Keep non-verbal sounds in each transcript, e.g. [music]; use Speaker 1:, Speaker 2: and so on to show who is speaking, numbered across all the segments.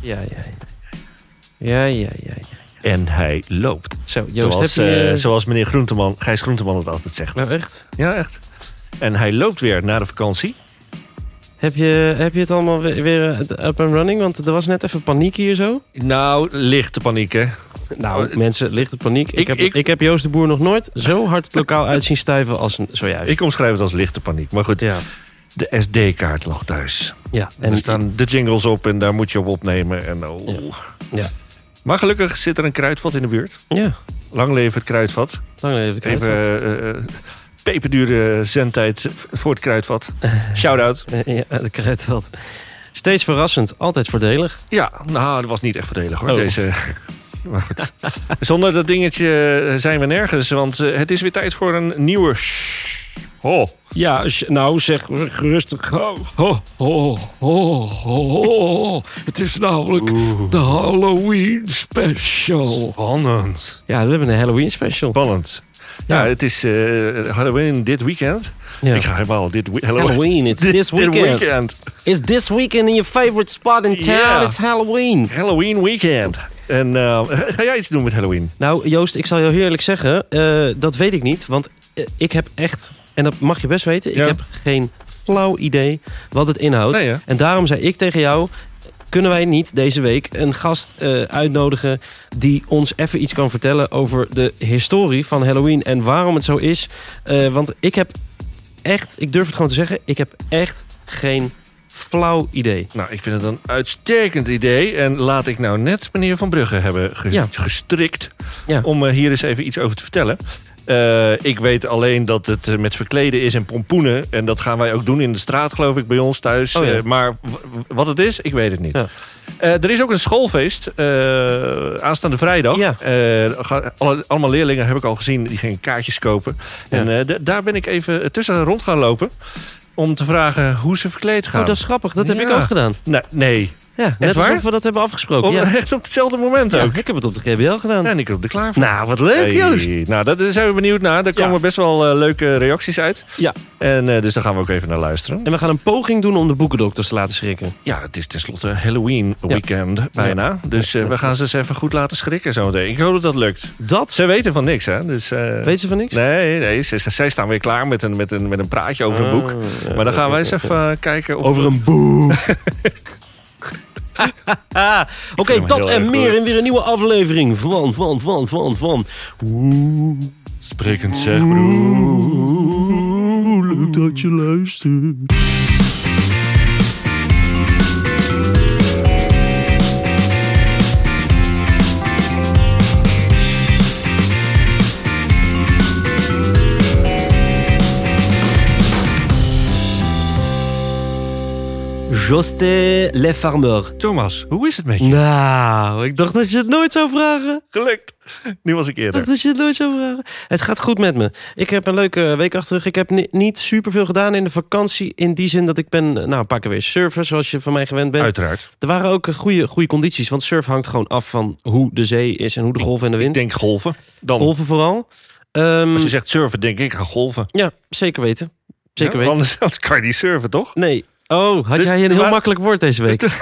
Speaker 1: Ja, ja, ja. Ja, ja, ja. ja.
Speaker 2: En hij loopt.
Speaker 1: Zo, Joost,
Speaker 2: Zoals,
Speaker 1: heb je...
Speaker 2: eh, zoals meneer Groenteman, Gijs Groenteman het altijd zegt.
Speaker 1: Nou, echt?
Speaker 2: Ja, echt. En hij loopt weer naar de vakantie.
Speaker 1: Heb je, heb je het allemaal weer, weer eh, up and running? Want er was net even paniek hier zo.
Speaker 2: Nou, lichte paniek, hè?
Speaker 1: Nou,
Speaker 2: eh,
Speaker 1: mensen, lichte paniek. Ik,
Speaker 2: ik-
Speaker 1: heb, ik,
Speaker 2: ik-
Speaker 1: heb Joost de Boer nog nooit zo hard het lokaal uit zien stuiven als n- zojuist.
Speaker 2: Ik omschrijf het als lichte paniek. Maar goed,
Speaker 1: ja.
Speaker 2: de SD-kaart lag thuis.
Speaker 1: ja,
Speaker 2: En er staan de jingles op en daar moet je op opnemen. En oh.
Speaker 1: Ja.
Speaker 2: Maar gelukkig zit er een kruidvat in de buurt.
Speaker 1: Ja,
Speaker 2: Lang leven het kruidvat.
Speaker 1: lang even kijken.
Speaker 2: Even eh, eh, peperdure zendtijd voor het [laughs] kruidvat. Shout-out.
Speaker 1: Eh, [laughs] Ja, de kruidvat. Steeds verrassend, altijd voordelig.
Speaker 2: Ja, nou, dat was niet echt voordelig hoor,
Speaker 1: Oh.
Speaker 2: deze... [laughs] Maar goed. Zonder dat dingetje eh, zijn we nergens, want eh, het is weer tijd voor een nieuwe... sh- Oh.
Speaker 1: Ja, nou zeg rustig. Ho, ho, ho, ho. Het is namelijk de Halloween special.
Speaker 2: Spannend.
Speaker 1: Ja, we hebben een Halloween special.
Speaker 2: Spannend. Ja, het is eh, Halloween dit weekend.
Speaker 1: Ja.
Speaker 2: Ik ga helemaal dit we-
Speaker 1: Halloween, it's this
Speaker 2: [laughs] Dit
Speaker 1: weekend.
Speaker 2: weekend.
Speaker 1: Is this weekend in your favorite spot in town?
Speaker 2: Ja.
Speaker 1: It's Halloween.
Speaker 2: Halloween weekend. En eh, ga jij iets doen met Halloween?
Speaker 1: Nou, Joost, ik zal jou heel eerlijk zeggen, eh, dat weet ik niet. Want eh, ik heb echt, en dat mag je best weten, ik
Speaker 2: Ja.
Speaker 1: heb geen flauw idee wat het inhoudt.
Speaker 2: Nee, hè?
Speaker 1: En daarom zei ik tegen jou, kunnen wij niet deze week een gast eh, uitnodigen die ons even iets kan vertellen over de historie van Halloween en waarom het zo is. Eh, want ik heb echt, ik durf het gewoon te zeggen, ik heb echt geen flauw idee.
Speaker 2: Nou, ik vind het een uitstekend idee. En laat ik nou net meneer Van Brugge hebben ge-
Speaker 1: Ja.
Speaker 2: gestrikt...
Speaker 1: Ja.
Speaker 2: om eh, hier eens even iets over te vertellen. Eh, ik weet alleen dat het eh, met verkleden is en pompoenen. En dat gaan wij ook doen in de straat, geloof ik, bij ons thuis.
Speaker 1: Oh, ja.
Speaker 2: Eh, maar w- w- wat het is, ik weet het niet.
Speaker 1: Ja.
Speaker 2: Eh, er is ook een schoolfeest eh, aanstaande vrijdag.
Speaker 1: Ja.
Speaker 2: Eh, ga- alle- allemaal leerlingen heb ik al gezien, die gingen kaartjes kopen.
Speaker 1: Ja.
Speaker 2: En eh, d- daar ben ik even tussen rond gaan lopen... om te vragen hoe ze verkleed gaan.
Speaker 1: Oh, dat is grappig, dat heb ik
Speaker 2: Ja.
Speaker 1: ook gedaan.
Speaker 2: Nee, nee.
Speaker 1: Ja, net
Speaker 2: waar?
Speaker 1: alsof we dat hebben afgesproken.
Speaker 2: Op-
Speaker 1: Ja.
Speaker 2: Echt op hetzelfde moment
Speaker 1: Ja,
Speaker 2: ook.
Speaker 1: ik heb het op de GBL gedaan.
Speaker 2: En ik er op de klaar voor.
Speaker 1: Nou, wat leuk,
Speaker 2: Hey,
Speaker 1: Joost.
Speaker 2: Nou, daar zijn we benieuwd naar. Daar
Speaker 1: Ja.
Speaker 2: komen best wel eh, leuke reacties uit.
Speaker 1: Ja.
Speaker 2: En eh, dus daar gaan we ook even naar luisteren.
Speaker 1: En we gaan een poging doen om de boekendokters te laten schrikken.
Speaker 2: Ja, het is tenslotte Halloween weekend bijna. Dus eh, we gaan ze eens even goed laten schrikken zometeen. Ik hoop dat dat lukt.
Speaker 1: Dat?
Speaker 2: Ze weten van niks, hè? Dus, eh,
Speaker 1: Weet ze van niks?
Speaker 2: Nee, nee ze, ze- zij staan weer klaar met een, met een, met een praatje over een boek.
Speaker 1: Ah, ja.
Speaker 2: Maar dan gaan wij eens even eh, kijken of...
Speaker 1: Over een boek. Ah, Oké,
Speaker 2: hem
Speaker 1: dat
Speaker 2: heel
Speaker 1: en
Speaker 2: erg
Speaker 1: meer
Speaker 2: leuk.
Speaker 1: in weer een nieuwe aflevering van, van, van, van, van. Oeh,
Speaker 2: Sprekend zeg, broer.
Speaker 1: leuk dat je luistert. Joste Le Farmer.
Speaker 2: Thomas, hoe is het met je?
Speaker 1: Nou, ik dacht dat je het nooit zou vragen.
Speaker 2: Gelukt. Nu was ik
Speaker 1: Ik dacht
Speaker 2: eerder.
Speaker 1: dat je het nooit zou vragen. Het gaat goed met me. Ik heb een leuke week achter de rug. Ik heb ni- niet superveel gedaan in de vakantie. In die zin dat ik ben, eh, nou, een paar keer weer surfen, zoals je van mij gewend bent.
Speaker 2: Uiteraard.
Speaker 1: Er waren ook eh, goede, goede condities, want surf hangt gewoon af van hoe de zee is en hoe de golven en de
Speaker 2: Ik
Speaker 1: wind.
Speaker 2: denk golven. Dan,
Speaker 1: Golven vooral. Ehm,
Speaker 2: als je zegt surfen, denk ik aan golven.
Speaker 1: Ja, zeker weten. Zeker
Speaker 2: Ja,
Speaker 1: weten.
Speaker 2: Anders, [laughs] anders kan je niet surfen, toch?
Speaker 1: Nee. Oh, had
Speaker 2: Dus
Speaker 1: jij een
Speaker 2: er
Speaker 1: heel
Speaker 2: waren-
Speaker 1: makkelijk woord deze week?
Speaker 2: Dus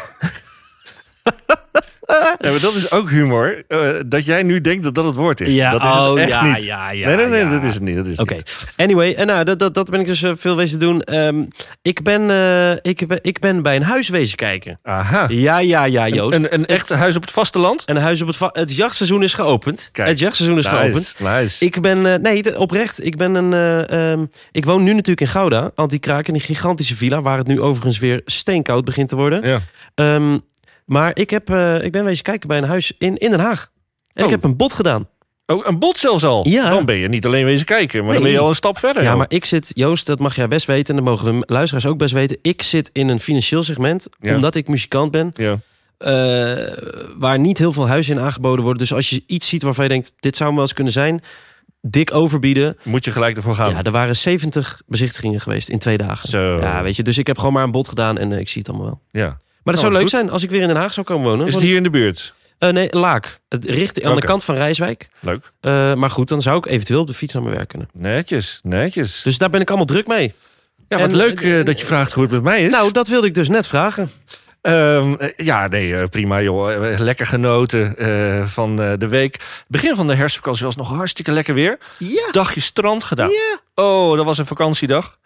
Speaker 2: Ja, maar dat is ook humor. eh, dat jij nu denkt dat dat het woord is. dat is het echt niet.
Speaker 1: ja,
Speaker 2: nee, nee, nee, dat is het niet. Dat is het
Speaker 1: Oké.
Speaker 2: niet.
Speaker 1: Anyway, en nou, dat, dat, dat ben ik dus eh, veel wezen doen. Ehm, ik, ben, eh, ik, ben, ik ben bij een huis wezen kijken.
Speaker 2: Aha.
Speaker 1: Ja, ja, ja, Joost.
Speaker 2: Een, een echt huis op het vasteland?
Speaker 1: En een huis op het va- Het jachtseizoen is geopend.
Speaker 2: Kijk.
Speaker 1: het jachtseizoen is geopend.
Speaker 2: nice.
Speaker 1: Ik ben, eh, nee, de- oprecht. Ik ben een. eh, ehm, ik woon nu natuurlijk in Gouda, Antikraak, in die gigantische villa, waar het nu overigens weer steenkoud begint te worden.
Speaker 2: ja.
Speaker 1: Ehm, maar ik, heb, eh, ik ben wezen kijken bij een huis in, in Den Haag. En
Speaker 2: Oh.
Speaker 1: ik heb een bod gedaan.
Speaker 2: Oh, een bot zelfs al.
Speaker 1: Ja.
Speaker 2: Dan ben je niet alleen wezen kijken, maar dan
Speaker 1: Nee.
Speaker 2: ben je al een stap verder.
Speaker 1: Ja,
Speaker 2: joh.
Speaker 1: maar ik zit, Joost, dat mag jij best weten. En dat mogen de luisteraars ook best weten. Ik zit in een financieel segment,
Speaker 2: Ja.
Speaker 1: omdat ik muzikant ben.
Speaker 2: Ja.
Speaker 1: eh, waar niet heel veel huizen in aangeboden worden. Dus als je iets ziet waarvan je denkt, dit zou me wel eens kunnen zijn. Dik overbieden.
Speaker 2: Moet je gelijk ervoor gaan.
Speaker 1: Ja, er waren 70 bezichtigingen geweest in twee dagen.
Speaker 2: Zo.
Speaker 1: Ja, weet je. Dus ik heb gewoon maar een bod gedaan en eh, ik zie het allemaal wel.
Speaker 2: Ja.
Speaker 1: Maar dat zou
Speaker 2: Nou,
Speaker 1: leuk
Speaker 2: wat goed.
Speaker 1: zijn als ik weer in Den Haag zou komen wonen.
Speaker 2: Is het
Speaker 1: Want-
Speaker 2: hier in de buurt?
Speaker 1: Eh, nee, Laak. Het richt aan de
Speaker 2: Oké.
Speaker 1: kant van Rijswijk.
Speaker 2: Leuk.
Speaker 1: Eh, maar goed, dan zou ik eventueel op de fiets naar mijn werk kunnen.
Speaker 2: Netjes, netjes.
Speaker 1: Dus daar ben ik allemaal druk mee. Nou,
Speaker 2: ja, wat
Speaker 1: en-
Speaker 2: leuk eh, dat je vraagt hoe het met mij is.
Speaker 1: Nou, dat wilde ik dus net vragen.
Speaker 2: Ehm, eh, ja, nee, eh, prima joh. Eh, Lekker genoten eh, van eh, de week. Begin van de herfstvakantie was nog hartstikke lekker weer.
Speaker 1: Ja.
Speaker 2: Dagje strand gedaan.
Speaker 1: Ja.
Speaker 2: Oh, dat was een vakantiedag.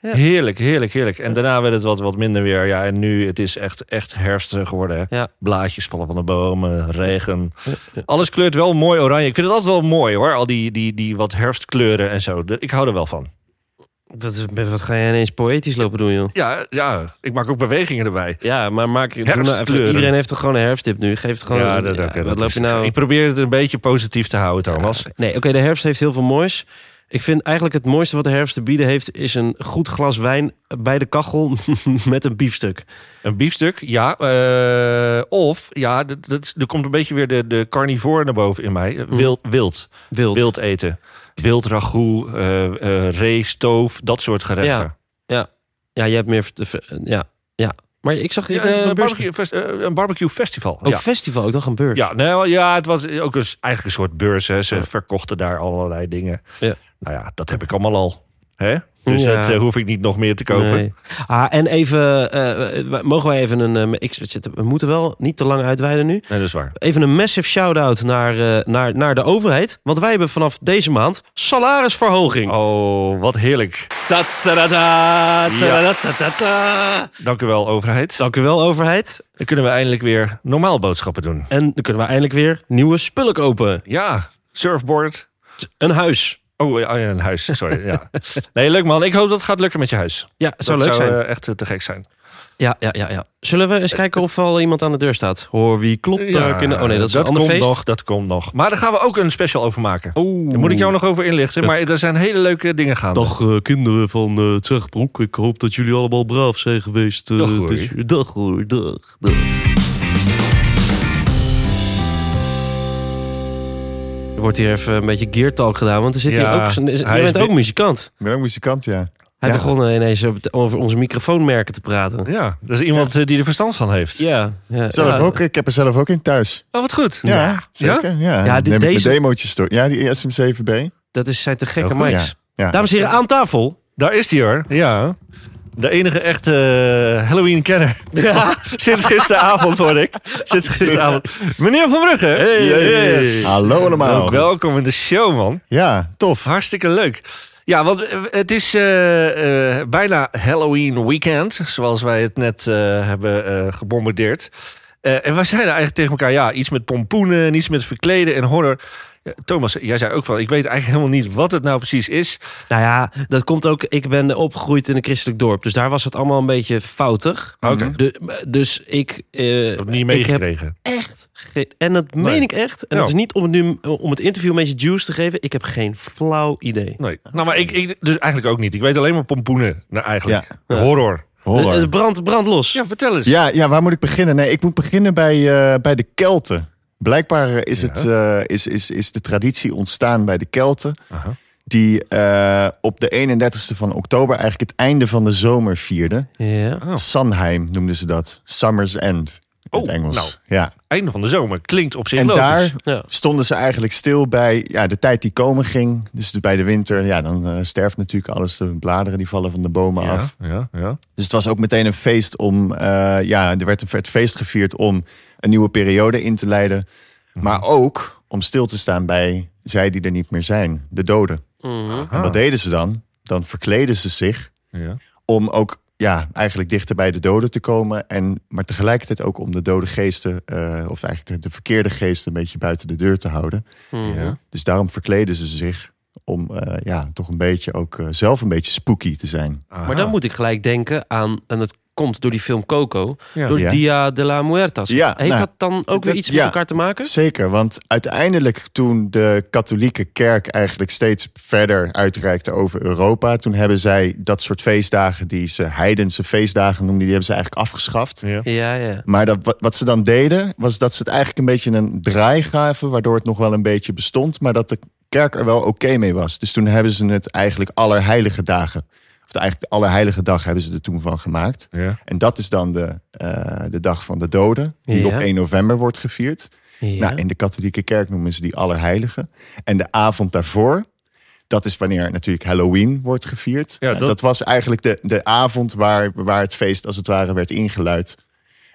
Speaker 1: Ja.
Speaker 2: Heerlijk, heerlijk, heerlijk. En daarna werd het wat, wat minder weer. Ja, en nu het is echt, echt herfst eh, geworden. Hè?
Speaker 1: Ja.
Speaker 2: Blaadjes vallen van de bomen, regen. Alles kleurt wel mooi oranje. Ik vind het altijd wel mooi hoor. Al die, die, die wat herfstkleuren en zo. De- Ik hou er wel van.
Speaker 1: Dat, is- wat ga jij ineens poëtisch lopen doen, joh?
Speaker 2: Ja, ja ik maak ook bewegingen erbij.
Speaker 1: Ja, maar maak, doe nou even-
Speaker 2: Herfstkleuren.
Speaker 1: iedereen heeft toch gewoon een herfsttip nu? Geef het gewoon...
Speaker 2: ja, dat, oké,
Speaker 1: wat
Speaker 2: dat
Speaker 1: loop
Speaker 2: is-
Speaker 1: je nou...
Speaker 2: Ik probeer het een beetje positief te houden, Thomas.
Speaker 1: Nee, oké, de herfst heeft heel veel moois. Ik vind eigenlijk het mooiste wat de herfst te bieden heeft... is een goed glas wijn bij de kachel [laughs] met een biefstuk.
Speaker 2: Een biefstuk, ja. eh, of, ja, dat, dat, is- er komt een beetje weer de, de carnivore naar boven in mij. Eh, Wild, wild,
Speaker 1: Wild.
Speaker 2: wild eten. Wild ragout, eh eh, ree, stoof, dat soort gerechten.
Speaker 1: Ja. ja, jij hebt meer... te ver- Ja, ja. Maar ik zag...
Speaker 2: Ja,
Speaker 1: eh,
Speaker 2: een,
Speaker 1: beurs-
Speaker 2: barbecue, fest- eh, een barbecue festival.
Speaker 1: Ook
Speaker 2: ja.
Speaker 1: festival, ik dacht een beurs.
Speaker 2: Ja, nou, ja, het was ook een, s- eigenlijk een soort beurs. Hè. Ze verkochten daar allerlei dingen.
Speaker 1: Ja.
Speaker 2: Nou ja, dat heb ik allemaal al. Hè? Dus
Speaker 1: Ja.
Speaker 2: dat eh, hoef ik niet nog meer te kopen.
Speaker 1: Nee. Ah, en even... eh, eh, mogen wij even een... eh, ik, zit- we moeten wel niet te lang uitweiden nu.
Speaker 2: Nee, dat is waar.
Speaker 1: Even een massive shout-out naar, eh, naar, naar de overheid. Want wij hebben vanaf deze maand salarisverhoging.
Speaker 2: Oh, wat heerlijk.
Speaker 1: Ta ta da da, ta
Speaker 2: Ja.
Speaker 1: da da ta ta.
Speaker 2: Dank u wel, overheid.
Speaker 1: Dank u wel, overheid.
Speaker 2: Dan kunnen we eindelijk weer normaal boodschappen doen.
Speaker 1: En dan kunnen we eindelijk weer nieuwe spullen kopen.
Speaker 2: Ja, surfboard.
Speaker 1: T- Een huis.
Speaker 2: Oh, ja, ja, een huis. Sorry. [laughs] ja. Nee, leuk man. Ik hoop dat het gaat lukken met je huis.
Speaker 1: Ja, zou
Speaker 2: dat
Speaker 1: leuk
Speaker 2: zou
Speaker 1: zijn.
Speaker 2: eh, echt eh, te gek zijn.
Speaker 1: Ja, ja, ja, ja. Zullen we eens kijken of al iemand aan de deur staat? Hoor, wie klopt daar?
Speaker 2: Ja,
Speaker 1: Kunnen- Oh nee, dat is een ander
Speaker 2: komt
Speaker 1: feest.
Speaker 2: nog. Dat komt nog. Maar daar gaan we ook een special over maken.
Speaker 1: Oeh.
Speaker 2: Daar moet ik jou nog over inlichten. Maar er zijn hele leuke dingen gaande.
Speaker 3: Dag eh, kinderen van eh Tvegbroek. Ik hoop dat jullie allemaal braaf zijn geweest. eh,
Speaker 2: Dag, hoor.
Speaker 3: dit- dag hoor, dag, dag.
Speaker 1: Er wordt hier even een beetje gear talk gedaan, want er zit
Speaker 2: Ja,
Speaker 1: hier ook... zo'n-
Speaker 2: hij
Speaker 1: Je
Speaker 2: is
Speaker 1: bent ook
Speaker 2: bi-
Speaker 1: muzikant.
Speaker 4: Ik ben ook muzikant, ja.
Speaker 1: Hij
Speaker 4: Ja.
Speaker 1: begon eh, ineens over te- over onze microfoonmerken te praten.
Speaker 2: Ja, dat is iemand eh, die er verstand van heeft.
Speaker 1: Ja. ja
Speaker 4: Zelf
Speaker 1: ja.
Speaker 4: ook, ik heb er zelf ook in thuis.
Speaker 2: Oh, wat goed.
Speaker 4: Ja, zeker.
Speaker 1: Ja,
Speaker 4: Ja, Dan
Speaker 1: dit-
Speaker 4: neem ik
Speaker 1: deze-
Speaker 4: mijn demootjes door. Ja, die SM7B.
Speaker 1: Dat is, zijn te gekke
Speaker 2: Heel goed.
Speaker 1: mics.
Speaker 4: Ja, ja.
Speaker 1: Dames en heren, aan tafel.
Speaker 2: Daar is hij hoor. Ja. De enige echte eh, Halloween-kenner. [laughs] Sinds gisteravond hoor ik. Sinds gisteravond. Meneer Van Brugge.
Speaker 4: Yes. Hallo allemaal.
Speaker 2: Ook welkom in de show, man.
Speaker 4: Ja, tof.
Speaker 2: Hartstikke leuk. Ja, want eh, het is eh, eh, bijna Halloween weekend, zoals wij het net eh, hebben eh, gebombardeerd. Eh, en wij zeiden eigenlijk tegen elkaar, ja, iets met pompoenen, en iets met verkleden en horror. Ja, Thomas, jij zei ook van, ik weet eigenlijk helemaal niet wat het nou precies is.
Speaker 1: Nou ja, dat komt ook. Ik ben opgegroeid in een christelijk dorp. Dus daar was het allemaal een beetje foutig.
Speaker 2: Oké.
Speaker 1: De- dus ik. eh,
Speaker 2: Ik heb niet
Speaker 1: ik heb
Speaker 2: meegekregen.
Speaker 1: echt. ge- en dat meen
Speaker 2: Nee.
Speaker 1: ik echt. En
Speaker 2: Ja.
Speaker 1: dat is niet om het, nu, om het interview een beetje juice te geven. Ik heb geen flauw idee.
Speaker 2: Nee. Nou, maar ik, ik dus eigenlijk ook niet. Ik weet alleen maar pompoenen, nou, eigenlijk.
Speaker 1: Ja.
Speaker 2: Horror.
Speaker 4: Horror.
Speaker 1: Eh, eh, brand, brand los.
Speaker 2: Ja, vertel eens.
Speaker 4: Ja, ja, waar moet ik beginnen? Nee, ik moet beginnen bij, eh, bij de Kelten. Blijkbaar eh, is, het, eh, is, is, is de traditie ontstaan bij de Kelten.
Speaker 2: Aha.
Speaker 4: Die eh, op de 31ste van oktober eigenlijk het einde van de zomer vierden.
Speaker 1: Ja.
Speaker 2: Oh.
Speaker 4: Sanheim noemden ze dat. Summer's End. In het
Speaker 2: Oh,
Speaker 4: Engels.
Speaker 2: nou.
Speaker 4: Ja.
Speaker 2: Einde van de zomer. Klinkt op zich
Speaker 4: En
Speaker 2: logisch.
Speaker 4: daar
Speaker 1: Ja.
Speaker 4: stonden ze eigenlijk stil bij ja, de tijd die komen ging. Dus bij de winter, ja, dan eh, sterft natuurlijk alles. De bladeren die vallen van de bomen
Speaker 2: ja,
Speaker 4: af.
Speaker 2: ja, ja.
Speaker 4: Dus het was ook meteen een feest om... eh, ja, er werd een werd feest gevierd om een nieuwe periode in te leiden. Maar ook om stil te staan bij zij die er niet meer zijn. De doden.
Speaker 1: Mhm.
Speaker 2: Ah.
Speaker 4: En wat deden ze dan? Dan verkleden ze zich
Speaker 2: Ja.
Speaker 4: om ook... Ja, eigenlijk dichter bij de doden te komen. En, maar tegelijkertijd ook om de dode geesten, eh, of eigenlijk de, de verkeerde geesten, een beetje buiten de deur te houden.
Speaker 1: Mhm.
Speaker 2: Ja.
Speaker 4: Dus daarom verkleden ze zich om eh, ja, toch een beetje ook eh, zelf een beetje spooky te zijn.
Speaker 2: Ah.
Speaker 1: Maar dan moet ik gelijk denken aan. En dat komt door die film Coco.
Speaker 2: Ja.
Speaker 1: Door
Speaker 4: Ja.
Speaker 1: Dia de la Muertas.
Speaker 4: Ja,
Speaker 1: Heeft
Speaker 4: nou,
Speaker 1: dat dan ook weer
Speaker 4: dat-
Speaker 1: iets met
Speaker 4: ja.
Speaker 1: elkaar te maken?
Speaker 4: Zeker, want uiteindelijk toen de katholieke kerk eigenlijk steeds verder uitreikte over Europa, toen hebben zij dat soort feestdagen, die ze heidense feestdagen noemden, die hebben ze eigenlijk afgeschaft.
Speaker 2: Ja.
Speaker 1: Ja, ja.
Speaker 4: Maar dat, wat, wat ze dan deden, was dat ze het eigenlijk een beetje een draai gaven, waardoor het nog wel een beetje bestond, maar dat de kerk er wel oké mee was. Dus toen hebben ze het eigenlijk Allerheilige Dagen, of eigenlijk de Allerheilige Dag hebben ze er toen van gemaakt.
Speaker 2: Ja.
Speaker 4: En dat is dan de, eh, de dag van de doden,
Speaker 1: Ja.
Speaker 4: die op 1 november wordt gevierd.
Speaker 1: ja.
Speaker 4: Nou, in de katholieke kerk noemen ze die Allerheilige. En de avond daarvoor, dat is wanneer natuurlijk Halloween wordt gevierd.
Speaker 2: Ja,
Speaker 4: Nou,
Speaker 2: dat-
Speaker 4: dat... was eigenlijk de, de avond waar, waar het feest als het ware werd ingeluid.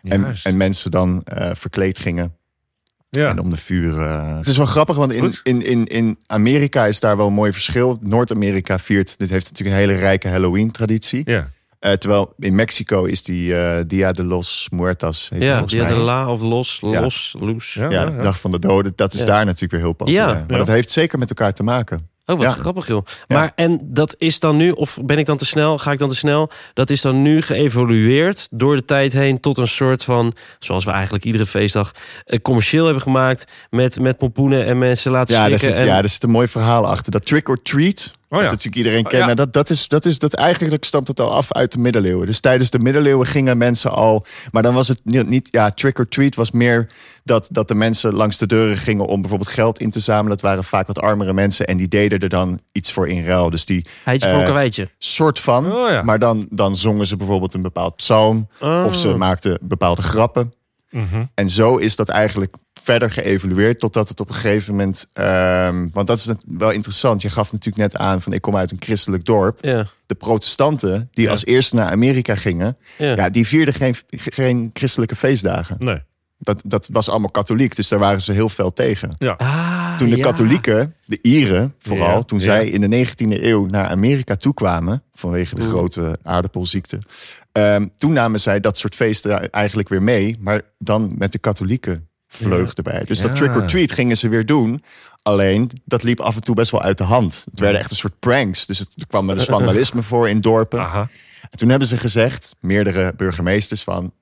Speaker 4: En,
Speaker 2: Juist.
Speaker 4: en mensen dan eh, verkleed gingen.
Speaker 2: ja.
Speaker 4: En om de vuren. eh, Het is wel grappig, want in,
Speaker 2: Goed.
Speaker 4: in, in, in Amerika is daar wel een mooi verschil. Noord-Amerika viert, dit heeft natuurlijk een hele rijke Halloween-traditie.
Speaker 2: ja.
Speaker 4: Eh, terwijl in Mexico is die eh, Dia de los Muertas. Heet
Speaker 1: Ja,
Speaker 4: volgens
Speaker 1: die
Speaker 4: mij.
Speaker 1: hadden la of los,
Speaker 4: Ja.
Speaker 1: los, loes.
Speaker 2: Ja,
Speaker 4: ja,
Speaker 2: ja,
Speaker 4: de
Speaker 2: ja.
Speaker 4: Dag van de Doden. Dat is
Speaker 1: Ja.
Speaker 4: daar natuurlijk weer heel populair.
Speaker 1: Ja.
Speaker 4: maar dat heeft zeker met elkaar te maken.
Speaker 1: Oh, wat
Speaker 4: Ja.
Speaker 1: grappig joh. Maar en dat is dan nu, of ben ik dan te snel, ga ik dan te snel? Dat is dan nu geëvolueerd door de tijd heen tot een soort van, zoals we eigenlijk iedere feestdag eh, commercieel hebben gemaakt met, met pompoenen en mensen laten
Speaker 4: Ja, daar
Speaker 1: schrikken.
Speaker 4: zit,
Speaker 1: en,
Speaker 4: ja, daar zit een mooi verhaal achter. Dat trick or treat,
Speaker 2: Oh
Speaker 4: dat
Speaker 2: ja.
Speaker 4: natuurlijk iedereen
Speaker 2: Oh,
Speaker 4: kent.
Speaker 2: ja.
Speaker 4: nou, dat, dat is, dat is, dat eigenlijk stamt het al af uit de middeleeuwen. Dus tijdens de middeleeuwen gingen mensen al... Maar dan was het ni- niet... Ja, trick or treat was meer dat, dat de mensen langs de deuren gingen... om bijvoorbeeld geld in te zamelen. Dat waren vaak wat armere mensen. En die deden er dan iets voor in ruil. Dus die
Speaker 1: Heidje voor
Speaker 4: Eh,
Speaker 1: een karweitje.
Speaker 4: soort van...
Speaker 2: Oh ja.
Speaker 4: Maar dan, dan zongen ze bijvoorbeeld een bepaald psalm.
Speaker 1: Oh.
Speaker 4: Of ze maakten bepaalde grappen.
Speaker 2: Mhm.
Speaker 4: En zo is dat eigenlijk verder geëvolueerd totdat het op een gegeven moment. ehm, want dat is net wel interessant. Je gaf natuurlijk net aan van ik kom uit een christelijk dorp.
Speaker 1: Ja.
Speaker 4: De protestanten die
Speaker 2: Ja.
Speaker 4: als eerste naar Amerika gingen,
Speaker 1: Ja.
Speaker 4: ja. die vierden geen, geen christelijke feestdagen.
Speaker 2: Nee.
Speaker 4: Dat, dat was allemaal katholiek, dus daar waren ze heel fel tegen.
Speaker 1: Ah,
Speaker 4: Toen de
Speaker 1: ja.
Speaker 4: katholieken, de Ieren vooral,
Speaker 2: Ja,
Speaker 4: toen
Speaker 2: ja.
Speaker 4: zij in de 19e eeuw naar Amerika toekwamen vanwege de grote aardappelziekte, ehm, toen namen zij dat soort feesten eigenlijk weer mee, maar dan met de katholieke vleug erbij. Dus
Speaker 2: Ja.
Speaker 4: dat trick or treat gingen ze weer doen. Alleen dat liep af en toe best wel uit de hand. Het werden echt een soort pranks. Dus het, er kwam wel eens vandalisme voor in dorpen.
Speaker 2: Aha.
Speaker 4: En toen hebben ze gezegd, meerdere burgemeesters, van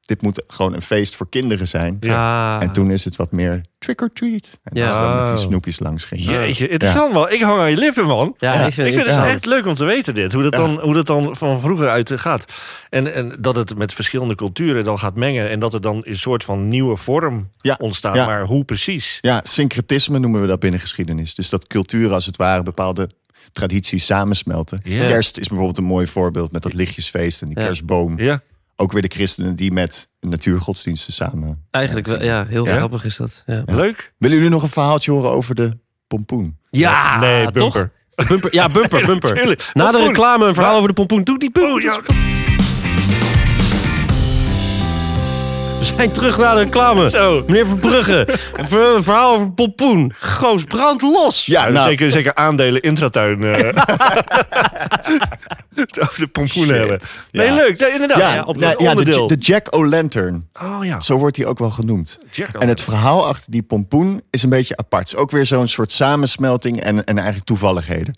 Speaker 4: dit moet gewoon een feest voor kinderen zijn.
Speaker 2: Ah.
Speaker 1: Ja.
Speaker 4: En toen is het wat meer trick or treat. En
Speaker 1: Ja.
Speaker 4: dat ze dan met die
Speaker 2: Oh.
Speaker 4: snoepjes langs gingen.
Speaker 2: Jeetje, interessant wel. Ik hang aan je lippen, man.
Speaker 1: Ja, ik vind het
Speaker 2: Ik vind het
Speaker 1: interessant.
Speaker 2: echt leuk om te weten dit. Hoe dat
Speaker 4: Ja.
Speaker 2: dan, hoe dat dan van vroeger uit eh, gaat. En, en dat het met verschillende culturen dan gaat mengen. En dat er dan een soort van nieuwe vorm
Speaker 4: Ja,
Speaker 2: ontstaat.
Speaker 4: ja.
Speaker 2: Maar hoe precies?
Speaker 4: Ja, syncretisme noemen we dat binnen geschiedenis. Dus dat culturen als het ware bepaalde tradities samensmelten.
Speaker 2: Ja.
Speaker 4: Kerst is bijvoorbeeld een mooi voorbeeld met dat lichtjesfeest en die
Speaker 1: Ja.
Speaker 4: kerstboom.
Speaker 2: Ja.
Speaker 4: Ook weer de christenen die met natuurgodsdiensten samen.
Speaker 1: Eigenlijk wel, ja, heel
Speaker 2: Ja?
Speaker 1: grappig is dat. Ja,
Speaker 2: Leuk.
Speaker 4: Willen jullie nog een verhaaltje horen over de pompoen?
Speaker 1: ja
Speaker 2: nee,
Speaker 1: toch?
Speaker 2: bumper.
Speaker 1: Bumper, ja, bumper, bumper.
Speaker 2: Natuurlijk.
Speaker 1: Na de
Speaker 2: Pompoen.
Speaker 1: reclame een verhaal over de pompoen. Doe die
Speaker 2: Oh,
Speaker 1: pompoen.
Speaker 2: ja.
Speaker 1: We zijn terug naar de reclame.
Speaker 2: Zo.
Speaker 1: Meneer Verbrugge, ver- een verhaal over pompoen. Goos, brand los.
Speaker 4: Ja,
Speaker 2: Nou,
Speaker 4: nou,
Speaker 2: zeker, zeker aandelen intratuin.
Speaker 4: [laughs]
Speaker 2: eh. [laughs] Het over de pompoen
Speaker 4: Shit.
Speaker 2: hebben.
Speaker 4: Ja.
Speaker 2: Nee, leuk. Nee, inderdaad.
Speaker 4: ja,
Speaker 2: Ja, op
Speaker 4: nou,
Speaker 2: dat
Speaker 4: ja, de,
Speaker 2: onderdeel.
Speaker 4: de Jack O'Lantern.
Speaker 2: oh ja.
Speaker 4: Zo wordt hij ook wel genoemd.
Speaker 2: Jack
Speaker 4: En het verhaal achter die pompoen is een beetje apart. Het is ook weer zo'n soort samensmelting en, en eigenlijk toevalligheden.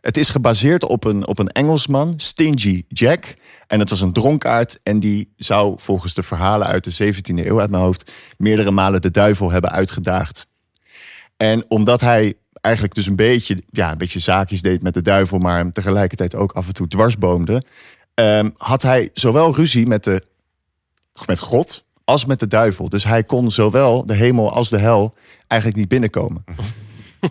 Speaker 4: Het is gebaseerd op een, op een Engelsman, Stingy Jack. En het was een dronkaard en die zou volgens de verhalen uit de 17e eeuw uit mijn hoofd... meerdere malen de duivel hebben uitgedaagd. En omdat hij eigenlijk dus een beetje, ja, een beetje zaakjes deed met de duivel... maar hem tegelijkertijd ook af en toe dwarsboomde... ehm, had hij zowel ruzie met de met God als met de duivel. Dus hij kon zowel de hemel als de hel eigenlijk niet binnenkomen.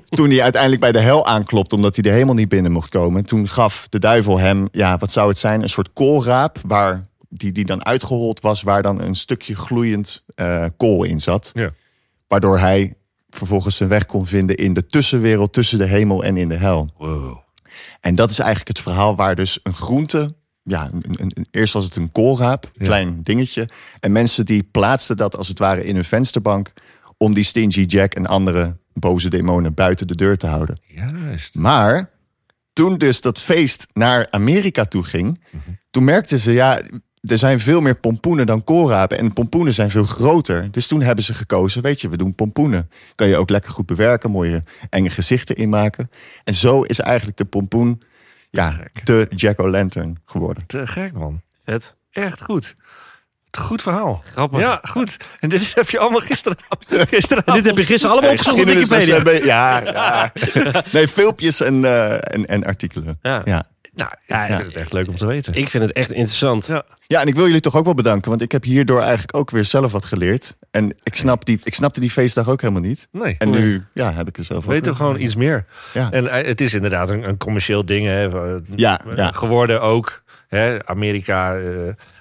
Speaker 4: toen hij uiteindelijk bij de hel aanklopt, omdat hij de hemel niet binnen mocht komen, toen gaf de duivel hem, ja, wat zou het zijn, een soort koolraap waar die, die dan uitgehold was, waar dan een stukje gloeiend eh, kool in zat.
Speaker 2: Ja.
Speaker 4: Waardoor hij vervolgens zijn weg kon vinden in de tussenwereld tussen de hemel en in de hel.
Speaker 2: Wow.
Speaker 4: En dat is eigenlijk het verhaal waar dus een groente. Ja, een, een- een- eerst was het een koolraap, een klein dingetje. En mensen die plaatsten dat als het ware in hun vensterbank. om die Stingy Jack en andere boze demonen buiten de deur te houden.
Speaker 2: Juist.
Speaker 4: Maar toen dus dat feest naar Amerika toe ging, toen merkten ze ja, er zijn veel meer pompoenen dan koolrapen en pompoenen zijn veel groter. Dus toen hebben ze gekozen, weet je, we doen pompoenen. Kan je ook lekker goed bewerken, mooie enge gezichten inmaken. En zo is eigenlijk de pompoen ja,
Speaker 2: Gek.
Speaker 4: de Jack O'Lantern geworden.
Speaker 2: Te gek, man.
Speaker 1: Vet.
Speaker 2: Echt goed. Het Goed verhaal.
Speaker 1: Grappig.
Speaker 2: Ja, Nou, goed. En dit heb je allemaal [laughs] gisteravond.
Speaker 1: En
Speaker 2: gisteravond.
Speaker 1: dit heb je gisteren allemaal opgezocht op
Speaker 4: Geschiedenis is
Speaker 1: Wikipedia.
Speaker 4: een be- ja, ja. Nee, filmpjes en, eh, en, en artikelen.
Speaker 1: Ja.
Speaker 4: Ja.
Speaker 2: Nou, ja, ik
Speaker 4: Ja.
Speaker 2: vind het echt leuk om te weten.
Speaker 1: Ik vind het echt interessant.
Speaker 2: Ja.
Speaker 4: Ja, en ik wil jullie toch ook wel bedanken, want ik heb hierdoor eigenlijk ook weer zelf wat geleerd. En ik, snap die, ik snapte die feestdag ook helemaal niet.
Speaker 2: Nee.
Speaker 4: En nu ja, heb ik er zelf ook
Speaker 2: Weet
Speaker 4: weer-
Speaker 2: er gewoon iets meer.
Speaker 4: Ja.
Speaker 2: En eh, het is inderdaad een, een commercieel ding hè, eh,
Speaker 4: Ja, ja.
Speaker 2: geworden ook. Hè, Amerika. eh,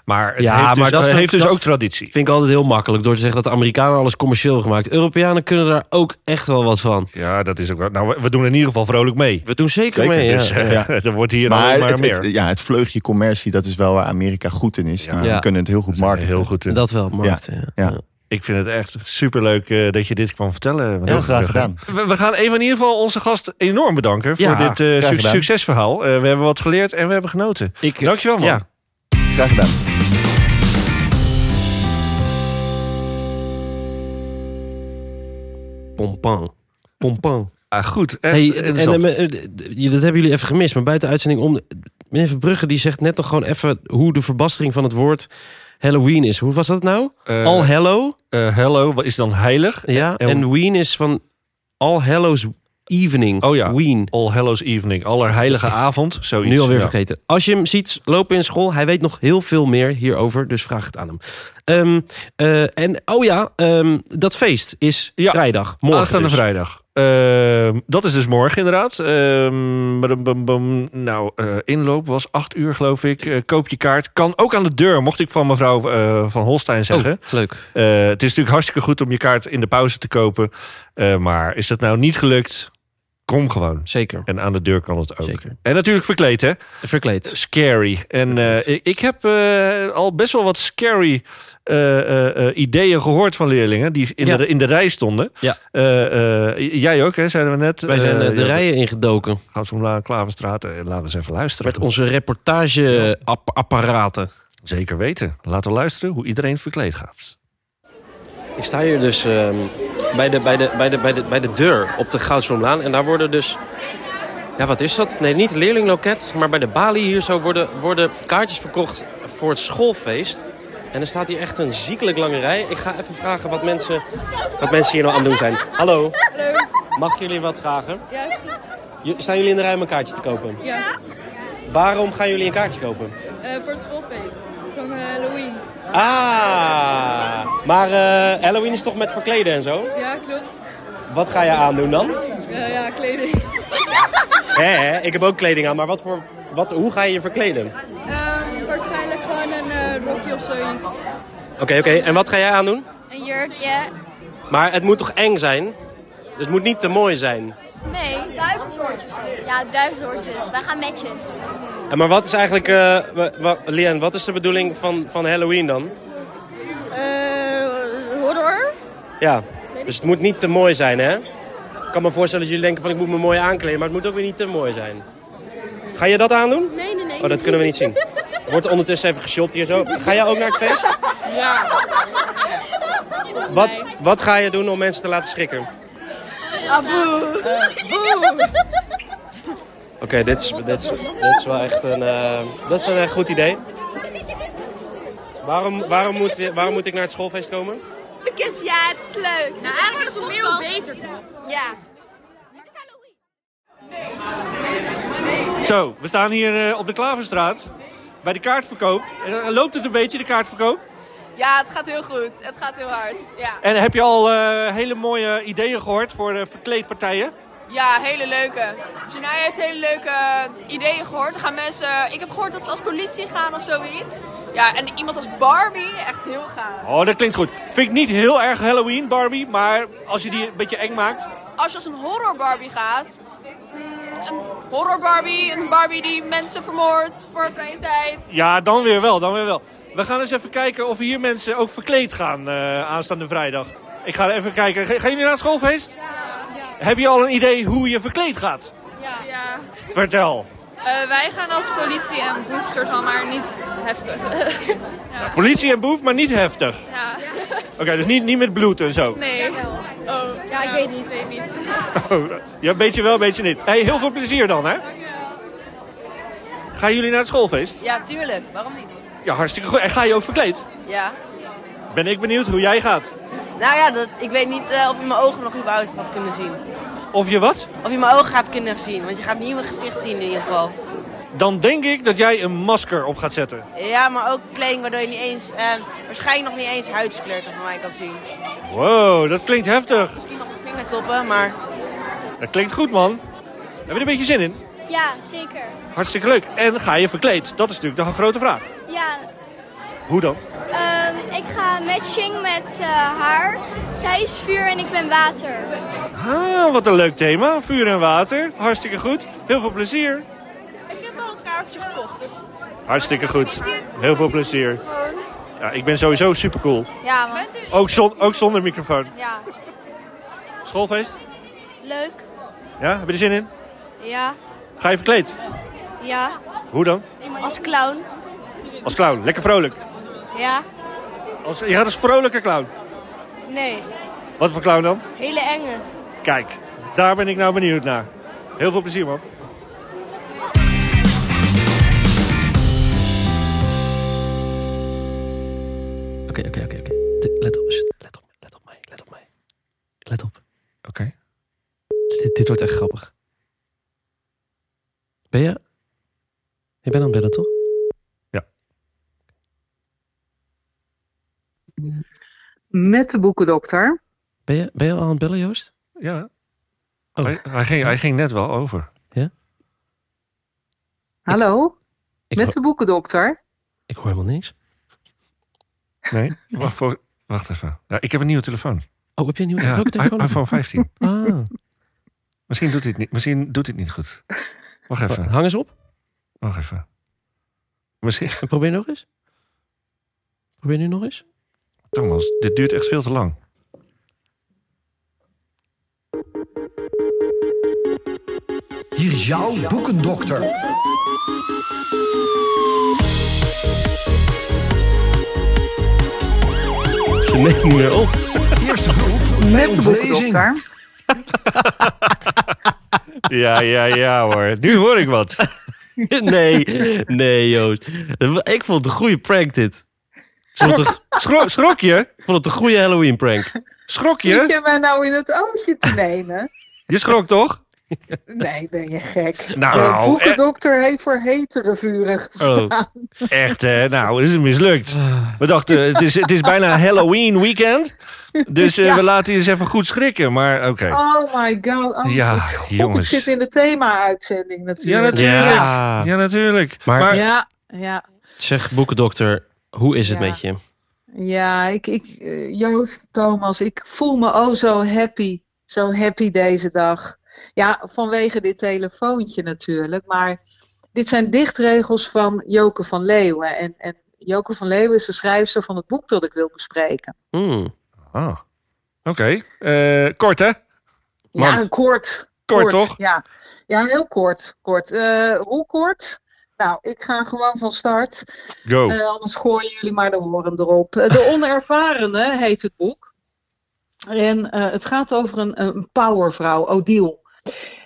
Speaker 2: Maar het
Speaker 1: Ja,
Speaker 2: heeft dus,
Speaker 1: maar dat
Speaker 2: eh,
Speaker 1: vind-
Speaker 2: heeft dus
Speaker 1: dat-
Speaker 2: ook traditie.
Speaker 1: Vind ik altijd heel makkelijk door te zeggen dat de Amerikanen alles commercieel hebben gemaakt. Europeanen kunnen daar ook echt wel wat van.
Speaker 2: Ja, dat is ook wel. Nou, we- we doen in ieder geval vrolijk mee.
Speaker 1: We doen zeker,
Speaker 4: Zeker,
Speaker 1: mee.
Speaker 2: Dus
Speaker 1: ja.
Speaker 2: eh,
Speaker 4: Ja.
Speaker 2: [laughs] er wordt hier
Speaker 4: maar
Speaker 2: alleen maar
Speaker 4: het,
Speaker 2: meer.
Speaker 4: het- ja, het vleugje commercie, dat is wel waar Amerika goed in is.
Speaker 2: Ja.
Speaker 4: Die
Speaker 1: Ja.
Speaker 4: kunnen het heel goed
Speaker 2: Dat is
Speaker 4: marketen.
Speaker 2: heel goed. in.
Speaker 1: Dat wel, markten. Ja.
Speaker 4: Ja.
Speaker 2: Ik vind het echt superleuk eh dat je dit kwam vertellen.
Speaker 4: Heel graag gedaan.
Speaker 2: We, we gaan even in ieder geval onze gast enorm bedanken voor
Speaker 1: Ja,
Speaker 2: dit eh,
Speaker 4: graag
Speaker 2: suc-
Speaker 4: gedaan.
Speaker 2: succesverhaal. Eh, we hebben wat geleerd en we hebben genoten.
Speaker 1: Ik, eh,
Speaker 2: Dankjewel man.
Speaker 1: Ja,
Speaker 4: Graag gedaan.
Speaker 1: Pompan. Pompan.
Speaker 2: Ah, goed, echt
Speaker 1: Hey, en,
Speaker 2: interessant.
Speaker 1: eh, eh, eh, dat hebben jullie even gemist, maar buiten uitzending om. Meneer Verbrugge die zegt net nog gewoon even hoe de verbastering van het woord Halloween is. Hoe was dat nou?
Speaker 2: Eh,
Speaker 1: All Hallow,
Speaker 2: eh, hello, wat is dan heilig?
Speaker 1: ja.
Speaker 2: en-
Speaker 1: En Ween is van All Hallows Evening.
Speaker 2: Oh ja.
Speaker 1: Ween.
Speaker 2: All Hallows Evening, allerheilige avond, zoiets.
Speaker 1: Nu alweer
Speaker 2: Ja.
Speaker 1: vergeten. Als je hem ziet lopen in school, hij weet nog heel veel meer hierover, dus vraag het aan hem. Ehm, eh, en oh ja, ehm, dat feest is
Speaker 2: Ja.
Speaker 1: vrijdag, morgen.
Speaker 2: Aanstaande
Speaker 1: dus.
Speaker 2: vrijdag. Ehm, dat is dus morgen inderdaad. Ehm, badum, bum, bum. nou, eh, inloop was acht uur geloof ik. Eh, koop je kaart. Kan ook aan de deur, mocht ik van mevrouw eh, van Holstein zeggen.
Speaker 1: Oh, leuk.
Speaker 2: Eh, het is natuurlijk hartstikke goed om je kaart in de pauze te kopen. Eh, maar is dat nou niet gelukt? Kom gewoon.
Speaker 1: Zeker.
Speaker 2: En aan de deur kan het ook.
Speaker 1: Zeker.
Speaker 2: En natuurlijk verkleed, hè?
Speaker 1: Verkleed.
Speaker 2: Scary. En eh, ik, ik heb eh, al best wel wat scary eh, eh, eh, ideeën gehoord van leerlingen die in,
Speaker 1: Ja.
Speaker 2: de, in de rij stonden.
Speaker 1: Ja.
Speaker 2: Eh, eh, jij ook, hè? Zeiden we net.
Speaker 1: Wij zijn eh, de
Speaker 2: rij.
Speaker 1: rijen ingedoken.
Speaker 2: Gaat van La- Klaverstraat. Eh, Laten we eens even luisteren.
Speaker 1: Met onze reportageapparaten.
Speaker 2: Zeker weten. Laten we luisteren hoe iedereen verkleed gaat.
Speaker 5: Ik sta hier dus ehm, bij, de, bij, de, bij, de, bij, de, bij de deur op de Goudsbloemlaan. En daar worden dus... Ja, wat is dat? Nee, niet leerlingloket, maar bij de balie hier zo worden, worden kaartjes verkocht voor het schoolfeest. En er staat hier echt een ziekelijk lange rij. Ik ga even vragen wat mensen, wat mensen hier nou aan het doen zijn. Hallo,
Speaker 6: Hallo.
Speaker 5: mag ik jullie wat vragen?
Speaker 6: Ja, is goed.
Speaker 5: J- Staan jullie in de rij om een kaartje te kopen?
Speaker 6: Ja,
Speaker 5: Waarom gaan jullie een kaartje kopen?
Speaker 6: eh, voor het schoolfeest van eh, Halloween.
Speaker 5: Ah, maar eh, Halloween is toch met verkleden en zo?
Speaker 6: Ja, klopt.
Speaker 5: Wat ga je aandoen dan?
Speaker 6: Eh, ja, kleding.
Speaker 5: Hé, hé, ik heb ook kleding aan, maar wat voor, wat, hoe ga je je verkleden? Oké,
Speaker 6: Ehm, waarschijnlijk gewoon een eh, rokje of zoiets.
Speaker 5: oké. En wat ga jij aandoen?
Speaker 7: Een jurkje.
Speaker 5: Maar het moet toch eng zijn? Dus het moet niet te mooi zijn.
Speaker 7: Nee. Duivensoortjes. Ja, duivensoortjes. Wij gaan matchen.
Speaker 5: En maar wat is eigenlijk, eh wa- wa- Lian, wat is de bedoeling van, van Halloween dan?
Speaker 6: Eh, horror?
Speaker 5: Ja, dus het moet niet te mooi zijn, hè? Ik kan me voorstellen dat jullie denken van ik moet me mooi aankleden, maar het moet ook weer niet te mooi zijn. Ga je dat aandoen?
Speaker 6: Nee, nee, nee.
Speaker 5: Oh, dat kunnen we niet zien. Er wordt ondertussen even geshopt hier zo. Ga jij ook naar het feest?
Speaker 6: Ja.
Speaker 5: Wat, wat ga je doen om mensen te laten schrikken?
Speaker 6: Aboe. boe.
Speaker 5: Oké, dit, is, dit, is, dit is wel echt een, eh, dat is een eh, goed idee. Waarom, waarom, moet, waarom moet ik naar het schoolfeest komen?
Speaker 7: Because ja, het is leuk. Nou, eigenlijk is het meer beter toch? Ja.
Speaker 8: Zo, we staan hier eh, op de Klaverstraat bij de kaartverkoop. En, eh, loopt het een beetje, de kaartverkoop?
Speaker 9: Ja, het gaat heel goed. Het gaat heel hard. Ja,
Speaker 8: En heb je al eh, hele mooie ideeën gehoord voor de verkleedpartijen?
Speaker 9: ja hele leuke. Janai heeft hele leuke ideeën gehoord. Er gaan mensen, ik heb gehoord dat ze als politie gaan of zoiets. Ja, en iemand als Barbie, echt heel gaaf.
Speaker 8: Oh, dat klinkt goed. Vind ik niet heel erg Halloween, Barbie, maar als je die een beetje eng maakt.
Speaker 9: Als je als een horror Barbie gaat, mm, een horror Barbie, een Barbie die mensen vermoordt voor vrije tijd.
Speaker 8: Ja, dan weer wel, dan weer wel. We gaan eens even kijken of hier mensen ook verkleed gaan eh, aanstaande vrijdag. Ik ga even kijken. Ga- Gaan jullie naar het schoolfeest? Heb je al een idee hoe je verkleed gaat?
Speaker 6: Ja.
Speaker 8: Vertel.
Speaker 6: wij gaan als politie en boef soort van, maar niet
Speaker 10: [laughs]
Speaker 6: heftig.
Speaker 8: Politie en boef, maar niet heftig.
Speaker 6: ja.
Speaker 8: Oké, dus niet, niet met bloed en zo.
Speaker 6: Nee. Oh, ja, ik weet niet. Weet niet.
Speaker 8: Oh, Ja, een beetje wel, een beetje niet. Hey, heel veel plezier dan, hè? Gaan jullie naar het schoolfeest?
Speaker 9: Ja, tuurlijk. Waarom niet?
Speaker 8: Ja, hartstikke goed. En ga je ook verkleed?
Speaker 9: Ja.
Speaker 8: Ben ik benieuwd hoe jij gaat.
Speaker 9: Nou ja, dat, ik weet niet eh, of je mijn ogen nog überhaupt gaat kunnen zien.
Speaker 8: Of je wat?
Speaker 9: Of je mijn ogen gaat kunnen zien, want je gaat niet mijn gezicht zien in ieder geval.
Speaker 8: Dan denk ik dat jij een masker op gaat zetten.
Speaker 9: Ja, maar ook kleding waardoor je niet eens, eh, waarschijnlijk nog niet eens huidskleur van mij kan zien.
Speaker 8: Wow, dat klinkt heftig.
Speaker 9: Misschien nog mijn vingertoppen, maar
Speaker 8: Dat klinkt goed, man. Heb je er een beetje zin in?
Speaker 7: Ja, zeker.
Speaker 8: Hartstikke leuk. En ga je verkleed? Dat is natuurlijk de grote vraag.
Speaker 7: Ja.
Speaker 8: Hoe dan?
Speaker 10: Ehm, ik ga matching met eh, haar. Zij is vuur en ik ben water.
Speaker 8: Ah, wat een leuk thema. Vuur en water. Hartstikke goed. Heel veel plezier.
Speaker 9: Ik heb al een kaartje gekocht, dus...
Speaker 8: Hartstikke goed. Heel veel plezier. Ja, ik ben sowieso supercool.
Speaker 10: Ja, man.
Speaker 8: Ook, zon, ook zonder microfoon.
Speaker 10: Ja.
Speaker 8: Schoolfeest?
Speaker 10: Leuk.
Speaker 8: Ja, heb je er zin in?
Speaker 10: Ja.
Speaker 8: Ga je verkleed?
Speaker 10: Ja.
Speaker 8: Hoe dan?
Speaker 10: Als clown.
Speaker 8: Als clown. Lekker vrolijk.
Speaker 10: Ja.
Speaker 8: Als, je gaat als vrolijke clown.
Speaker 10: Nee.
Speaker 8: Wat voor clown dan?
Speaker 10: Hele enge.
Speaker 8: Kijk, daar ben ik nou benieuwd naar. Heel veel plezier, man.
Speaker 1: Oké, oké, oké. oké. Dit- Let op, shit, let op, let op mij, let op mij. Let op. Oké. Dit, dit wordt echt grappig. Ben je? Je bent aan het bellen, toch?
Speaker 11: Met de boekendokter.
Speaker 1: Ben je, ben je al aan het bellen, Joost?
Speaker 2: Ja.
Speaker 1: Oh.
Speaker 2: Hij, hij ging, hij ging net wel over.
Speaker 11: Hallo?
Speaker 1: Ik,
Speaker 11: Met de boekendokter.
Speaker 1: ik hoor helemaal niks.
Speaker 2: Nee? [laughs] Wacht, voor, wacht even. Ja, ik heb een nieuwe telefoon.
Speaker 1: Oh, heb je een nieuwe
Speaker 2: Ja,
Speaker 1: welke telefoon?
Speaker 2: i- iPhone 15.
Speaker 1: Ah,
Speaker 2: Misschien doet hij het niet, misschien doet hij het niet goed. Wacht even.
Speaker 1: hang eens op.
Speaker 2: Wacht even. Misschien,
Speaker 1: Probeer nog eens. Probeer nu nog eens.
Speaker 2: Thomas, dit duurt echt veel te lang.
Speaker 12: Hier is jouw boekendokter.
Speaker 1: Ze neemt niet meer op.
Speaker 12: Eerste hulp bij
Speaker 11: Met de
Speaker 12: ontlezing.
Speaker 11: boekendokter.
Speaker 2: [laughs] Ja, ja, ja hoor. Nu hoor ik wat. [laughs]
Speaker 1: Nee, nee, Joost. Ik vond het een goede prank, dit. Ik vond het een,
Speaker 2: Schrok, schrok je?
Speaker 1: ik vond het een goede Halloween
Speaker 11: [laughs]
Speaker 1: prank.
Speaker 2: Schrok
Speaker 11: Zit
Speaker 2: je?
Speaker 11: je mij nou in het oogje te nemen?
Speaker 2: [laughs] Je schrok toch?
Speaker 11: [laughs] Nee, ben je gek. de
Speaker 2: Nou, e-
Speaker 11: boekendokter heeft voor hetere vuren gestaan.
Speaker 2: echt hè. Nou, is het mislukt. We dachten, het is, het is bijna Halloween weekend. Dus eh,
Speaker 11: Ja.
Speaker 2: we laten je eens even goed schrikken. Maar oké.
Speaker 11: Oh my god. Oh,
Speaker 2: Ja,
Speaker 11: god. God, Ik
Speaker 2: jongens.
Speaker 11: zit in de thema-uitzending
Speaker 2: Ja,
Speaker 11: natuurlijk.
Speaker 2: natuurlijk. Ja,
Speaker 1: Ja.
Speaker 2: natuurlijk.
Speaker 1: Maar-
Speaker 2: Maar,
Speaker 11: Ja, ja.
Speaker 1: Zeg, boekendokter, hoe is het
Speaker 11: Ja.
Speaker 1: met je?
Speaker 11: Ja, ik, ik, eh, Joost, Thomas, ik voel me oh zo happy. Zo happy deze dag. Ja, vanwege dit telefoontje natuurlijk. Maar dit zijn dichtregels van Joke van Leeuwen. En, en Joke van Leeuwen is de schrijfster van het boek dat ik wil bespreken.
Speaker 1: Hmm.
Speaker 2: Ah. Oké. Eh, kort hè?
Speaker 11: Ja,
Speaker 2: Want-
Speaker 11: kort.
Speaker 2: Kort, toch?
Speaker 11: Ja. ja, heel kort. kort. Eh, hoe kort? Nou, ik ga gewoon van start.
Speaker 2: Go.
Speaker 11: Eh, anders gooien jullie maar de horen erop. Eh, de Onervarene heet het boek. En eh, het gaat over een, een powervrouw, Odile.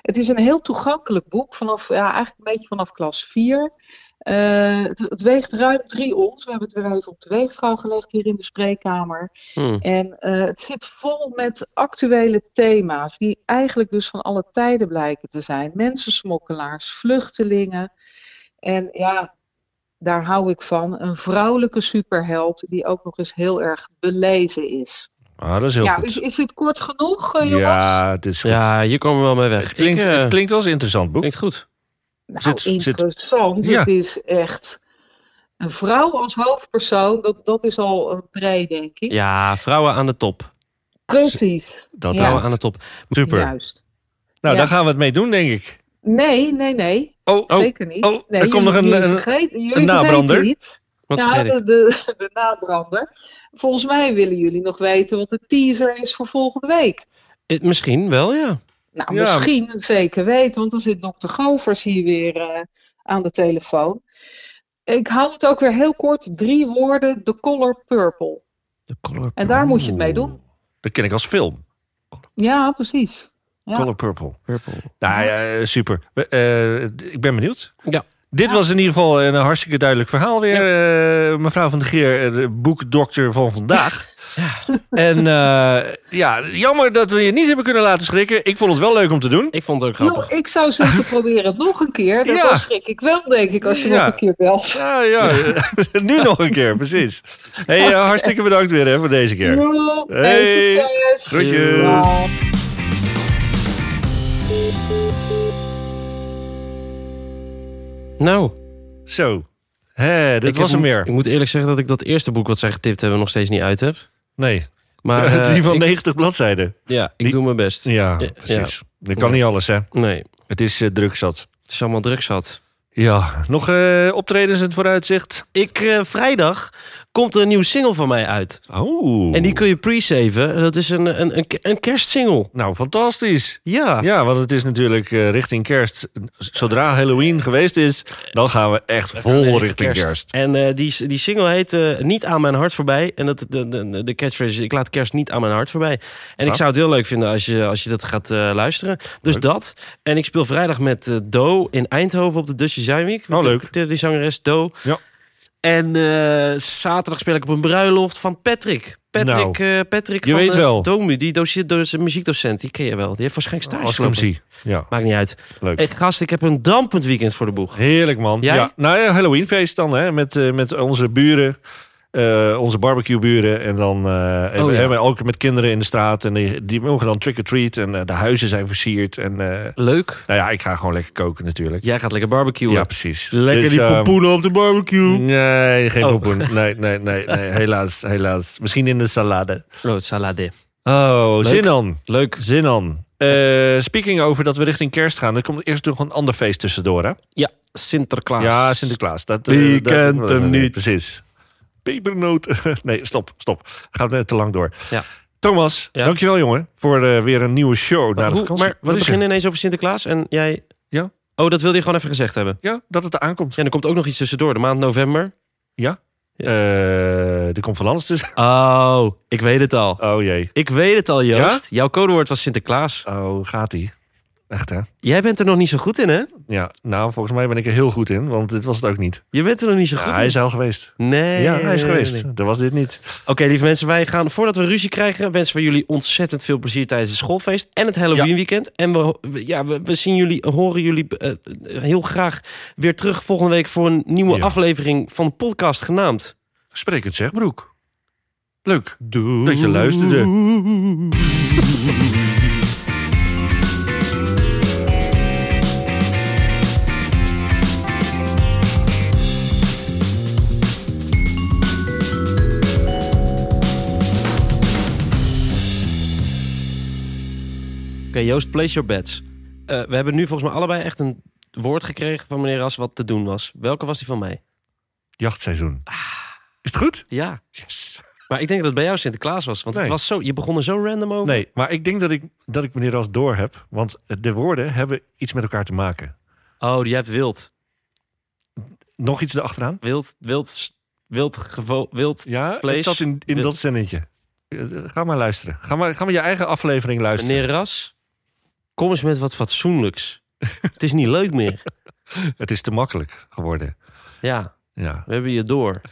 Speaker 11: Het is een heel toegankelijk boek, vanaf, ja, eigenlijk een beetje vanaf klas 4. Eh, het, het weegt ruim 3 ons. We hebben het weer even op de weegschaal gelegd hier in de spreekkamer.
Speaker 1: Hmm.
Speaker 11: En eh, het zit vol met actuele thema's, die eigenlijk dus van alle tijden blijken te zijn. Mensensmokkelaars, vluchtelingen. En ja, daar hou ik van. Een vrouwelijke superheld die ook nog eens heel erg belezen is.
Speaker 2: Ah, dat is heel
Speaker 11: ja,
Speaker 2: goed.
Speaker 11: is, is dit kort genoeg, eh, jongens?
Speaker 2: ja, het is goed.
Speaker 1: Ja, hier komen we wel mee weg.
Speaker 2: het, klinkt,
Speaker 1: Ik, eh,
Speaker 2: het klinkt als een interessant boek.
Speaker 1: klinkt goed.
Speaker 11: nou,
Speaker 2: zit- zit-
Speaker 11: interessant.
Speaker 2: Ja.
Speaker 11: Het is echt een vrouw als hoofdpersoon. Dat, dat is al een pre, denk ik.
Speaker 2: Ah,
Speaker 1: Ja, vrouwen aan de top.
Speaker 11: Precies.
Speaker 2: Dat
Speaker 11: Ja.
Speaker 1: Vrouwen aan de top.
Speaker 2: Super.
Speaker 11: Juist.
Speaker 2: Nou,
Speaker 11: Ja.
Speaker 2: daar gaan we het mee doen, denk ik.
Speaker 11: Nee, nee, nee.
Speaker 2: Oh, oh.
Speaker 11: Zeker niet.
Speaker 2: oh,
Speaker 11: nee,
Speaker 2: er komt nog
Speaker 11: jullie-
Speaker 2: een-
Speaker 11: jullie
Speaker 2: een-
Speaker 11: vergeten- jullie
Speaker 2: een nabrander.
Speaker 11: vergeten iets.
Speaker 1: Wat
Speaker 11: ja,
Speaker 1: vergeet ik?
Speaker 11: de, de, de nabrander. Volgens mij willen jullie nog weten wat de teaser is voor volgende week.
Speaker 1: Eh, Misschien wel, ja.
Speaker 11: Nou,
Speaker 2: Ja.
Speaker 11: misschien het zeker weten, want dan zit dokter Govers hier weer eh, aan de telefoon. Ik hou het ook weer heel kort. Drie woorden, de color purple.
Speaker 1: De color
Speaker 11: En daar moet je het mee doen.
Speaker 2: Dat ken ik als film.
Speaker 11: Ja, precies. Ja.
Speaker 2: Color Purple.
Speaker 1: purple.
Speaker 2: Nou ja, super. We- eh, d- ik ben benieuwd.
Speaker 1: Ja.
Speaker 2: Dit was in ieder geval een hartstikke duidelijk verhaal weer. eh, mevrouw van de Geer, eh, de boekdokter van
Speaker 11: [laughs]
Speaker 2: vandaag. En eh, ja, jammer dat we je niet hebben kunnen laten schrikken. Ik vond het wel leuk om te doen.
Speaker 1: Ik vond het ook
Speaker 11: Joh,
Speaker 1: grappig.
Speaker 11: ik zou
Speaker 1: [laughs]
Speaker 11: zeggen, probeer het nog een keer. Dat
Speaker 2: Ja.
Speaker 11: was schrik ik wel, denk ik, als je
Speaker 2: Ja.
Speaker 11: nog een keer belt.
Speaker 2: Ja, ja,
Speaker 11: [laughs]
Speaker 2: [laughs] nu nog een keer, precies. Hey, eh, hartstikke bedankt weer hè, voor deze keer.
Speaker 11: Joh, hey,
Speaker 2: Hey.
Speaker 11: succes.
Speaker 2: Groetjes.
Speaker 11: Ja.
Speaker 1: Nou,
Speaker 2: Zo, Hé, dit
Speaker 11: Nou, Ik
Speaker 2: was
Speaker 11: heb-
Speaker 2: hem weer.
Speaker 11: Ik moet eerlijk zeggen dat ik dat eerste boek wat zij getipt hebben nog steeds niet uit heb.
Speaker 2: [laughs] Nee.
Speaker 11: [laughs] Maar, eh,
Speaker 2: die van
Speaker 11: ik-
Speaker 2: 90 bladzijden.
Speaker 11: Ja, ik doe mijn best.
Speaker 2: Ja,
Speaker 11: Ja,
Speaker 2: precies.
Speaker 11: ja.
Speaker 2: Dat kan
Speaker 11: Ja.
Speaker 2: niet alles, hè?
Speaker 11: Nee.
Speaker 2: Het is eh, druk zat.
Speaker 11: Het is allemaal druk zat.
Speaker 2: Ja. Nog eh, optredens in het vooruitzicht?
Speaker 11: Ik, eh, vrijdag komt er een nieuwe single van mij uit.
Speaker 2: Oh.
Speaker 11: En die kun je pre-saven. Dat is een, een, een, een kerstsingle.
Speaker 2: Nou, fantastisch.
Speaker 11: Ja.
Speaker 2: Ja, want het is natuurlijk eh, richting kerst. Zodra Halloween geweest is, dan gaan we echt vol richting kerst.
Speaker 11: En eh, die, die single heet eh, Niet aan mijn hart voorbij. En dat, de, de, de catchphrase is Ik laat kerst niet aan mijn hart voorbij. En ik
Speaker 2: Ah.
Speaker 11: zou het heel leuk vinden als je, als je dat gaat eh, luisteren. Dus dat. En ik speel vrijdag met eh, Do in Eindhoven op de Dutch Design Week. Met
Speaker 2: Oh,
Speaker 11: de-
Speaker 2: leuk.
Speaker 11: De, die zangeres Do.
Speaker 2: Ja.
Speaker 11: En eh, zaterdag speel ik op een bruiloft van Patrick. Patrick,
Speaker 2: Nou,
Speaker 11: eh, Patrick
Speaker 2: je
Speaker 11: van
Speaker 2: weet
Speaker 11: eh,
Speaker 2: wel.
Speaker 11: Domu, die doce- doce- muziekdocent, die ken je wel. Die heeft waarschijnlijk stage
Speaker 2: Als ik hem
Speaker 11: gelopen.
Speaker 2: zie. Ja.
Speaker 11: Maakt niet uit.
Speaker 2: Leuk.
Speaker 11: Eh, gast, ik heb een dampend weekend voor de boeg.
Speaker 2: Heerlijk, man.
Speaker 11: Jij?
Speaker 2: Ja. Nou ja, Halloweenfeest dan, hè? Met, eh, met onze buren. eh, onze barbecueburen. En dan eh, hebben
Speaker 11: Oh, ja.
Speaker 2: hebben we ook met kinderen in de straat. En die, die mogen dan trick-or-treat. En eh, de huizen zijn versierd. En, eh,
Speaker 11: Leuk.
Speaker 2: nou ja, ik ga gewoon lekker koken natuurlijk.
Speaker 11: Jij gaat lekker barbecuen.
Speaker 2: Ja, precies.
Speaker 11: Lekker die pompoenen
Speaker 2: op de barbecue. Nee, geen
Speaker 11: Oh.
Speaker 2: pompoen. Nee, nee, nee,
Speaker 11: [laughs]
Speaker 2: nee. Helaas, helaas. Misschien in de salade.
Speaker 11: Oh, salade.
Speaker 2: Oh,
Speaker 11: Leuk.
Speaker 2: zin aan.
Speaker 11: Leuk.
Speaker 2: Zin aan. Eh, speaking over dat we richting kerst gaan. Er komt eerst nog een ander feest tussendoor, hè?
Speaker 11: Ja, Sinterklaas.
Speaker 2: Ja, Sinterklaas. Dat, eh,
Speaker 8: Wie
Speaker 2: dat-
Speaker 8: kent hem niet?
Speaker 2: Precies. Pepernoten. [laughs] Nee, stop, stop. Gaat net te lang door.
Speaker 11: Ja.
Speaker 2: Thomas,
Speaker 11: Ja.
Speaker 2: dankjewel jongen voor eh, weer een nieuwe show. na de
Speaker 11: Hoe-
Speaker 2: vakantie.
Speaker 11: maar we
Speaker 2: Wat is er?
Speaker 11: beginnen ineens over Sinterklaas en jij...
Speaker 2: Ja.
Speaker 11: Oh, dat wilde je gewoon even gezegd hebben.
Speaker 2: Ja, dat het eraan komt.
Speaker 11: Ja, en er komt ook nog iets tussendoor. De maand november.
Speaker 2: Ja? Eh, er komt van alles
Speaker 11: [laughs]
Speaker 2: tussen.
Speaker 11: Oh, ik weet het al.
Speaker 2: Oh jee.
Speaker 11: Ik weet het al, Joost. Jouw codewoord was Sinterklaas.
Speaker 2: Oh, gaat ie. Echt hè?
Speaker 11: Jij bent er nog niet zo goed in, hè?
Speaker 2: Ja, nou volgens mij ben ik er heel goed in, want dit was het ook niet.
Speaker 11: Je bent er nog niet zo
Speaker 2: Ja,
Speaker 11: goed in.
Speaker 2: hij is al geweest.
Speaker 11: Nee.
Speaker 2: ja, hij is
Speaker 11: nee,
Speaker 2: geweest.
Speaker 11: nee.
Speaker 2: Dat was dit niet.
Speaker 11: Oké, lieve mensen, wij gaan voordat we ruzie krijgen, wensen we jullie ontzettend veel plezier tijdens het schoolfeest en het Halloween weekend. En we, we- ja, we, we zien jullie, horen jullie eh, heel graag weer terug volgende week voor een nieuwe
Speaker 2: Ja.
Speaker 11: aflevering van de podcast genaamd.
Speaker 2: Spreek het zeg, Broek. Leuk dat je luisterde.
Speaker 11: Oké, Joost, place your bets. Eh, we hebben nu volgens mij allebei echt een woord gekregen van meneer Ras wat te doen was. Welke was die van mij?
Speaker 2: Jachtseizoen. Is het goed?
Speaker 11: Ja. Maar ik denk dat het bij jou Sinterklaas was, want het
Speaker 2: Nee.
Speaker 11: was zo, je begon er zo random over.
Speaker 2: Nee, maar ik denk dat ik, dat ik meneer Ras door heb. Want de woorden hebben iets met elkaar te maken.
Speaker 11: Oh, die hebt wild.
Speaker 2: Nog iets erachteraan?
Speaker 11: Wild, wild, wild, gevo- wild.
Speaker 2: Ja,
Speaker 11: Vlees.
Speaker 2: het zat in, in
Speaker 11: Wil-
Speaker 2: dat zinnetje. Eh, Ga maar luisteren. Ga maar, ga maar je eigen aflevering luisteren.
Speaker 11: Meneer Ras, kom eens met wat fatsoenlijks. het is niet leuk meer.
Speaker 2: Het is te makkelijk geworden.
Speaker 11: Ja,
Speaker 2: Ja.
Speaker 11: we hebben je door.